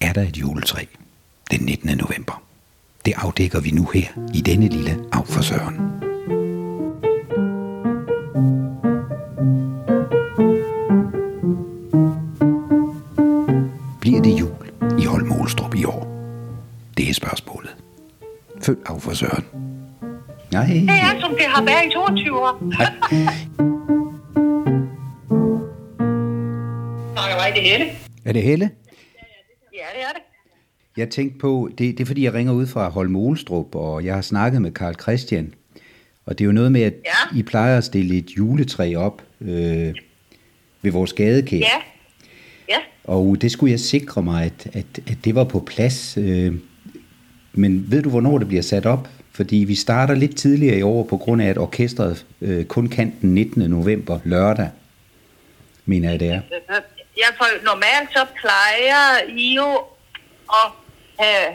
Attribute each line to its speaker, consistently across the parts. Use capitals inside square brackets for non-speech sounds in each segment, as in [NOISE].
Speaker 1: er der et juletræ den 19. november. Det afdækker vi nu her i denne lille af for Søren. Bliver det jul i Holm Olstrup i år? Det er spørgsmålet. Følg af for Søren. Nej.
Speaker 2: Det er, som det har været i 22 år. Nej, nej, det er det.
Speaker 1: Er det Helle?
Speaker 2: Ja, det er det.
Speaker 1: Jeg tænkte på, det, det er fordi, jeg ringer ud fra Holm Olstrup, og jeg har snakket med Karl Christian. Og det er jo noget med, at
Speaker 2: Ja.
Speaker 1: I plejer at stille et juletræ op øh, ved vores gadekær.
Speaker 2: Ja. Ja.
Speaker 1: Og det skulle jeg sikre mig, at, at, at det var på plads. Øh, men ved du, hvornår det bliver sat op? Fordi vi starter lidt tidligere i år, på grund af, at orkestret øh, kun kan den 19. november, lørdag, mener jeg det er.
Speaker 2: Jeg for, normalt så plejer I jo at have,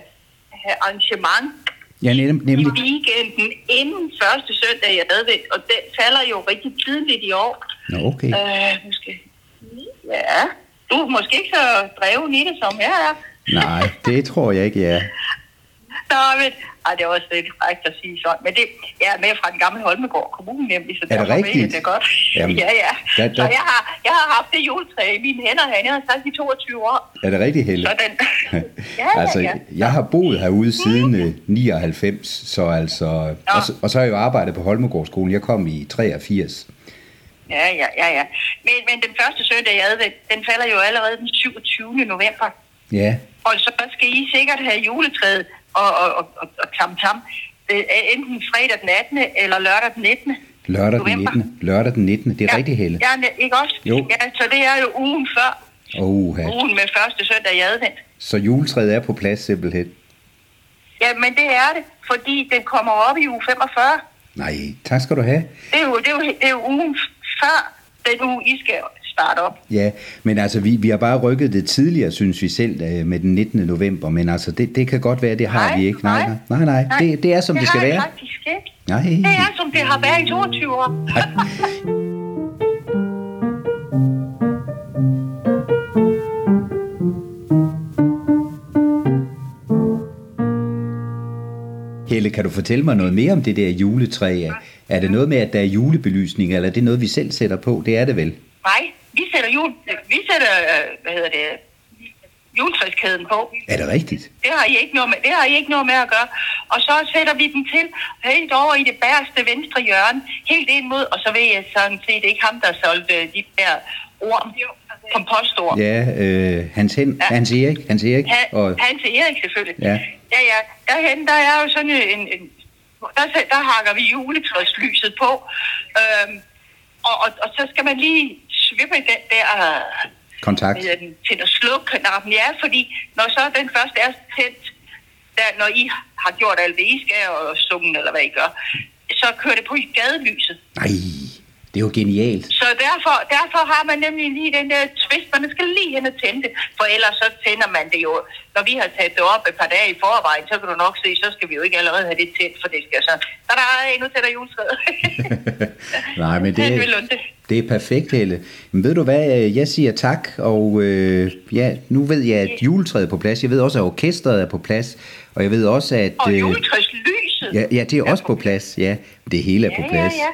Speaker 2: have arrangement
Speaker 1: Ja, nem-
Speaker 2: i
Speaker 1: nemlig.
Speaker 2: weekenden inden første søndag i advent, og den falder jo rigtig tidligt i år.
Speaker 1: Nå, okay.
Speaker 2: Øh, måske. Ja, du er måske ikke så dreven i det, som jeg er.
Speaker 1: Nej, det tror jeg ikke, jeg er.
Speaker 2: Nå, men, ej, det er også lidt frækt at sige sådan. Men det, jeg er med fra den gamle Holmegård Kommune nemlig, så
Speaker 1: det
Speaker 2: derfor ved
Speaker 1: rigtigt?
Speaker 2: jeg det godt.
Speaker 1: Jamen,
Speaker 2: ja, ja.
Speaker 1: der-
Speaker 2: Så
Speaker 1: der-
Speaker 2: jeg har, jeg har haft det juletræ i mine hænder herinde, jeg har sagt i 22 år.
Speaker 1: Er det rigtig heldigt?
Speaker 2: Så den, ja,
Speaker 1: [LAUGHS] altså,
Speaker 2: ja. Mm.
Speaker 1: jeg har boet herude siden øh, 99, så altså, og, så- og så har jeg jo arbejdet på Holmegårdsskolen. Jeg kom i 83.
Speaker 2: ja, ja, ja, ja. Men, men den første søndag i advent, den falder jo allerede den 27. november.
Speaker 1: Ja,
Speaker 2: Og så skal I sikkert have juletræet og, og, og, og, og tam-tam. øh, Enten fredag den 18. eller lørdag den 19.
Speaker 1: lørdag den
Speaker 2: November.
Speaker 1: 19. Lørdag den 19. Det er rigtig heldigt.
Speaker 2: Ja, ne- ikke også?
Speaker 1: Jo.
Speaker 2: Ja, så det er jo ugen før.
Speaker 1: Oha.
Speaker 2: Ugen med første søndag i advent.
Speaker 1: Så juletræet er på plads simpelthen.
Speaker 2: Ja, men det er det, fordi den kommer op i uge 45.
Speaker 1: Nej, tak skal du have.
Speaker 2: Det er jo, det er jo, det er jo ugen før den uge, I skal starte op.
Speaker 1: Ja, men altså, vi, vi har bare rykket det tidligere, synes vi selv, øh, med den 19. november. Men altså, det, det kan godt være, det har vi ikke. nej, nej. nej, nej. Det, det er, som det, skal
Speaker 2: har
Speaker 1: være.
Speaker 2: Det faktisk ikke.
Speaker 1: Nej.
Speaker 2: Det er, som det har været i 22 år.
Speaker 1: Helle, kan du fortælle mig noget mere om det der juletræ? Er- Er det noget med, at der er julebelysning, eller er det noget, vi selv sætter på? Det er det vel?
Speaker 2: Nej, vi sætter, jul, vi sætter øh, hvad hedder det, juletræskæden på.
Speaker 1: Er det rigtigt?
Speaker 2: Det har, I ikke noget med, det har I ikke noget med at gøre. Og så sætter vi den til helt over i det bæreste venstre hjørne, helt ind mod, og så ved jeg sådan set ikke ham, der solgte de der orm, kompostord.
Speaker 1: Ja, øh, Hans, Hen, ja. Hans Erik, Hans Erik
Speaker 2: Han,
Speaker 1: og
Speaker 2: han til Erik selvfølgelig.
Speaker 1: Ja.
Speaker 2: ja, ja. Derhen, der er jo sådan en... en der, sæt- der hakker vi juletræslyset på. Øhm, og, og, og, så skal man lige svippe den der...
Speaker 1: kontakt.
Speaker 2: Hvad hedder den, til at slukke knappen. Ja, fordi når så den først er tændt, der, når I har gjort alt, hvad I skal, og sungen, eller hvad I gør, så kører det på i gadelyset.
Speaker 1: Nej, det er jo
Speaker 2: [LAUGHS]
Speaker 1: genialt.
Speaker 2: Så derfor, derfor har man nemlig lige den der twist, man skal lige hen og tænde det, for ellers så tænder man det jo. Når vi har taget det op et par dage i forvejen, så kan du nok se, så skal vi jo ikke allerede have det tændt, for det skal så... Der er endnu til der juletræet.
Speaker 1: Nej,
Speaker 2: [LAUGHS]
Speaker 1: men det,
Speaker 2: Det er Lunde.
Speaker 1: det er perfekt, Helle. Men ved du hvad, øh, jeg siger tak, og øh, ja, nu ved jeg, at juletræet er på plads. Jeg ved også, at orkestret er på plads, og jeg ved også, at...
Speaker 2: og
Speaker 1: øh,
Speaker 2: juletræslyset.
Speaker 1: ja, ja, det er også på plads, ja. Det hele er
Speaker 2: Ja,
Speaker 1: på
Speaker 2: ja,
Speaker 1: plads.
Speaker 2: ja.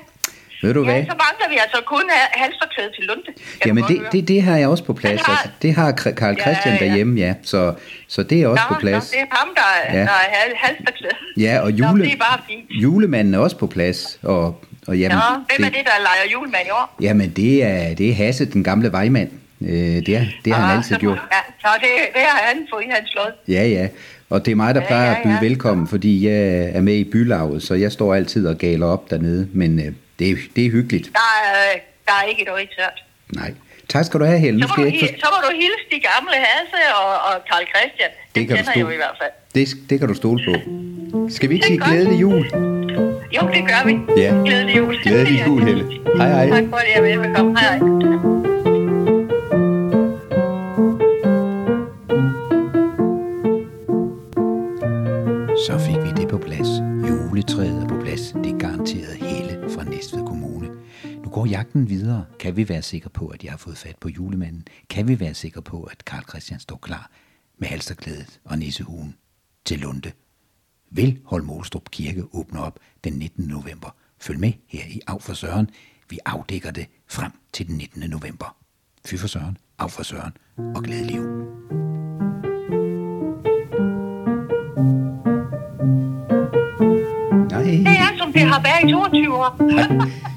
Speaker 1: Ved du hvad?
Speaker 2: Ja, så mangler vi altså kun ha- halsterklæde til Lunde. kan
Speaker 1: Jamen
Speaker 2: du godt
Speaker 1: det,
Speaker 2: høre.
Speaker 1: det, det har jeg også på plads.
Speaker 2: Han har-
Speaker 1: Altså, det har Kr- Karl
Speaker 2: Ja,
Speaker 1: Christian
Speaker 2: ja.
Speaker 1: derhjemme, ja. Så, så det er også
Speaker 2: Nå,
Speaker 1: på plads.
Speaker 2: Nå, det er ham,
Speaker 1: Ja.
Speaker 2: der, ja. der er hal- halsterklæde.
Speaker 1: Ja, og
Speaker 2: Nå,
Speaker 1: jule,
Speaker 2: det er bare fint.
Speaker 1: julemanden er også på plads. Og, og jamen,
Speaker 2: Nå, hvem er det, der leger julemand i år?
Speaker 1: Jamen det er, det er Hasse, den gamle vejmand. Øh, det, er, det har han
Speaker 2: Ah,
Speaker 1: altid
Speaker 2: så-
Speaker 1: gjort.
Speaker 2: Ja, så det, det har han fået i hans lod.
Speaker 1: Ja, ja. Og det er mig, der
Speaker 2: Ja,
Speaker 1: plejer
Speaker 2: ja,
Speaker 1: at byde
Speaker 2: ja.
Speaker 1: velkommen, fordi jeg er med i bylaget, så jeg står altid og galer op dernede. Men øh, det, er, det er hyggeligt.
Speaker 2: Der er, der er ikke et øje tørt.
Speaker 1: Nej. Tak skal du have, Helle.
Speaker 2: Så
Speaker 1: Nu
Speaker 2: må,
Speaker 1: skal
Speaker 2: du,
Speaker 1: jeg ikke
Speaker 2: hi- så må du hilse de gamle Hasse og, og Karl Christian.
Speaker 1: Det kan du
Speaker 2: kender
Speaker 1: stå-
Speaker 2: jeg jo i hvert fald.
Speaker 1: for- det, det kan du stole på. Skal vi ikke
Speaker 2: Det er
Speaker 1: sige
Speaker 2: godt.
Speaker 1: glædelig jul?
Speaker 2: Jo, det gør vi.
Speaker 1: Ja.
Speaker 2: Glædelig jul.
Speaker 1: Glædelig jul, Helle. Hej, hej.
Speaker 2: Tak for det, og velbekomme. Hej, hej.
Speaker 1: Så fik vi det på plads. Juletræet er på plads. Det er garanteret hele fra Næstved Kommune. Nu går jagten videre. Kan vi være sikre på, at jeg har fået fat på julemanden? Kan vi være sikre på, at Karl Christian står klar? med halsterklædet og nissehuen til Lunde, vil Holm Olstrup Kirke åbne op den 19. november. Følg med her i Af for Søren. Vi afdækker det frem til den 19. november. Fy for Søren, Af for Søren og glædelig jul.
Speaker 2: Det er, som det har været i 22 år.
Speaker 1: Nej.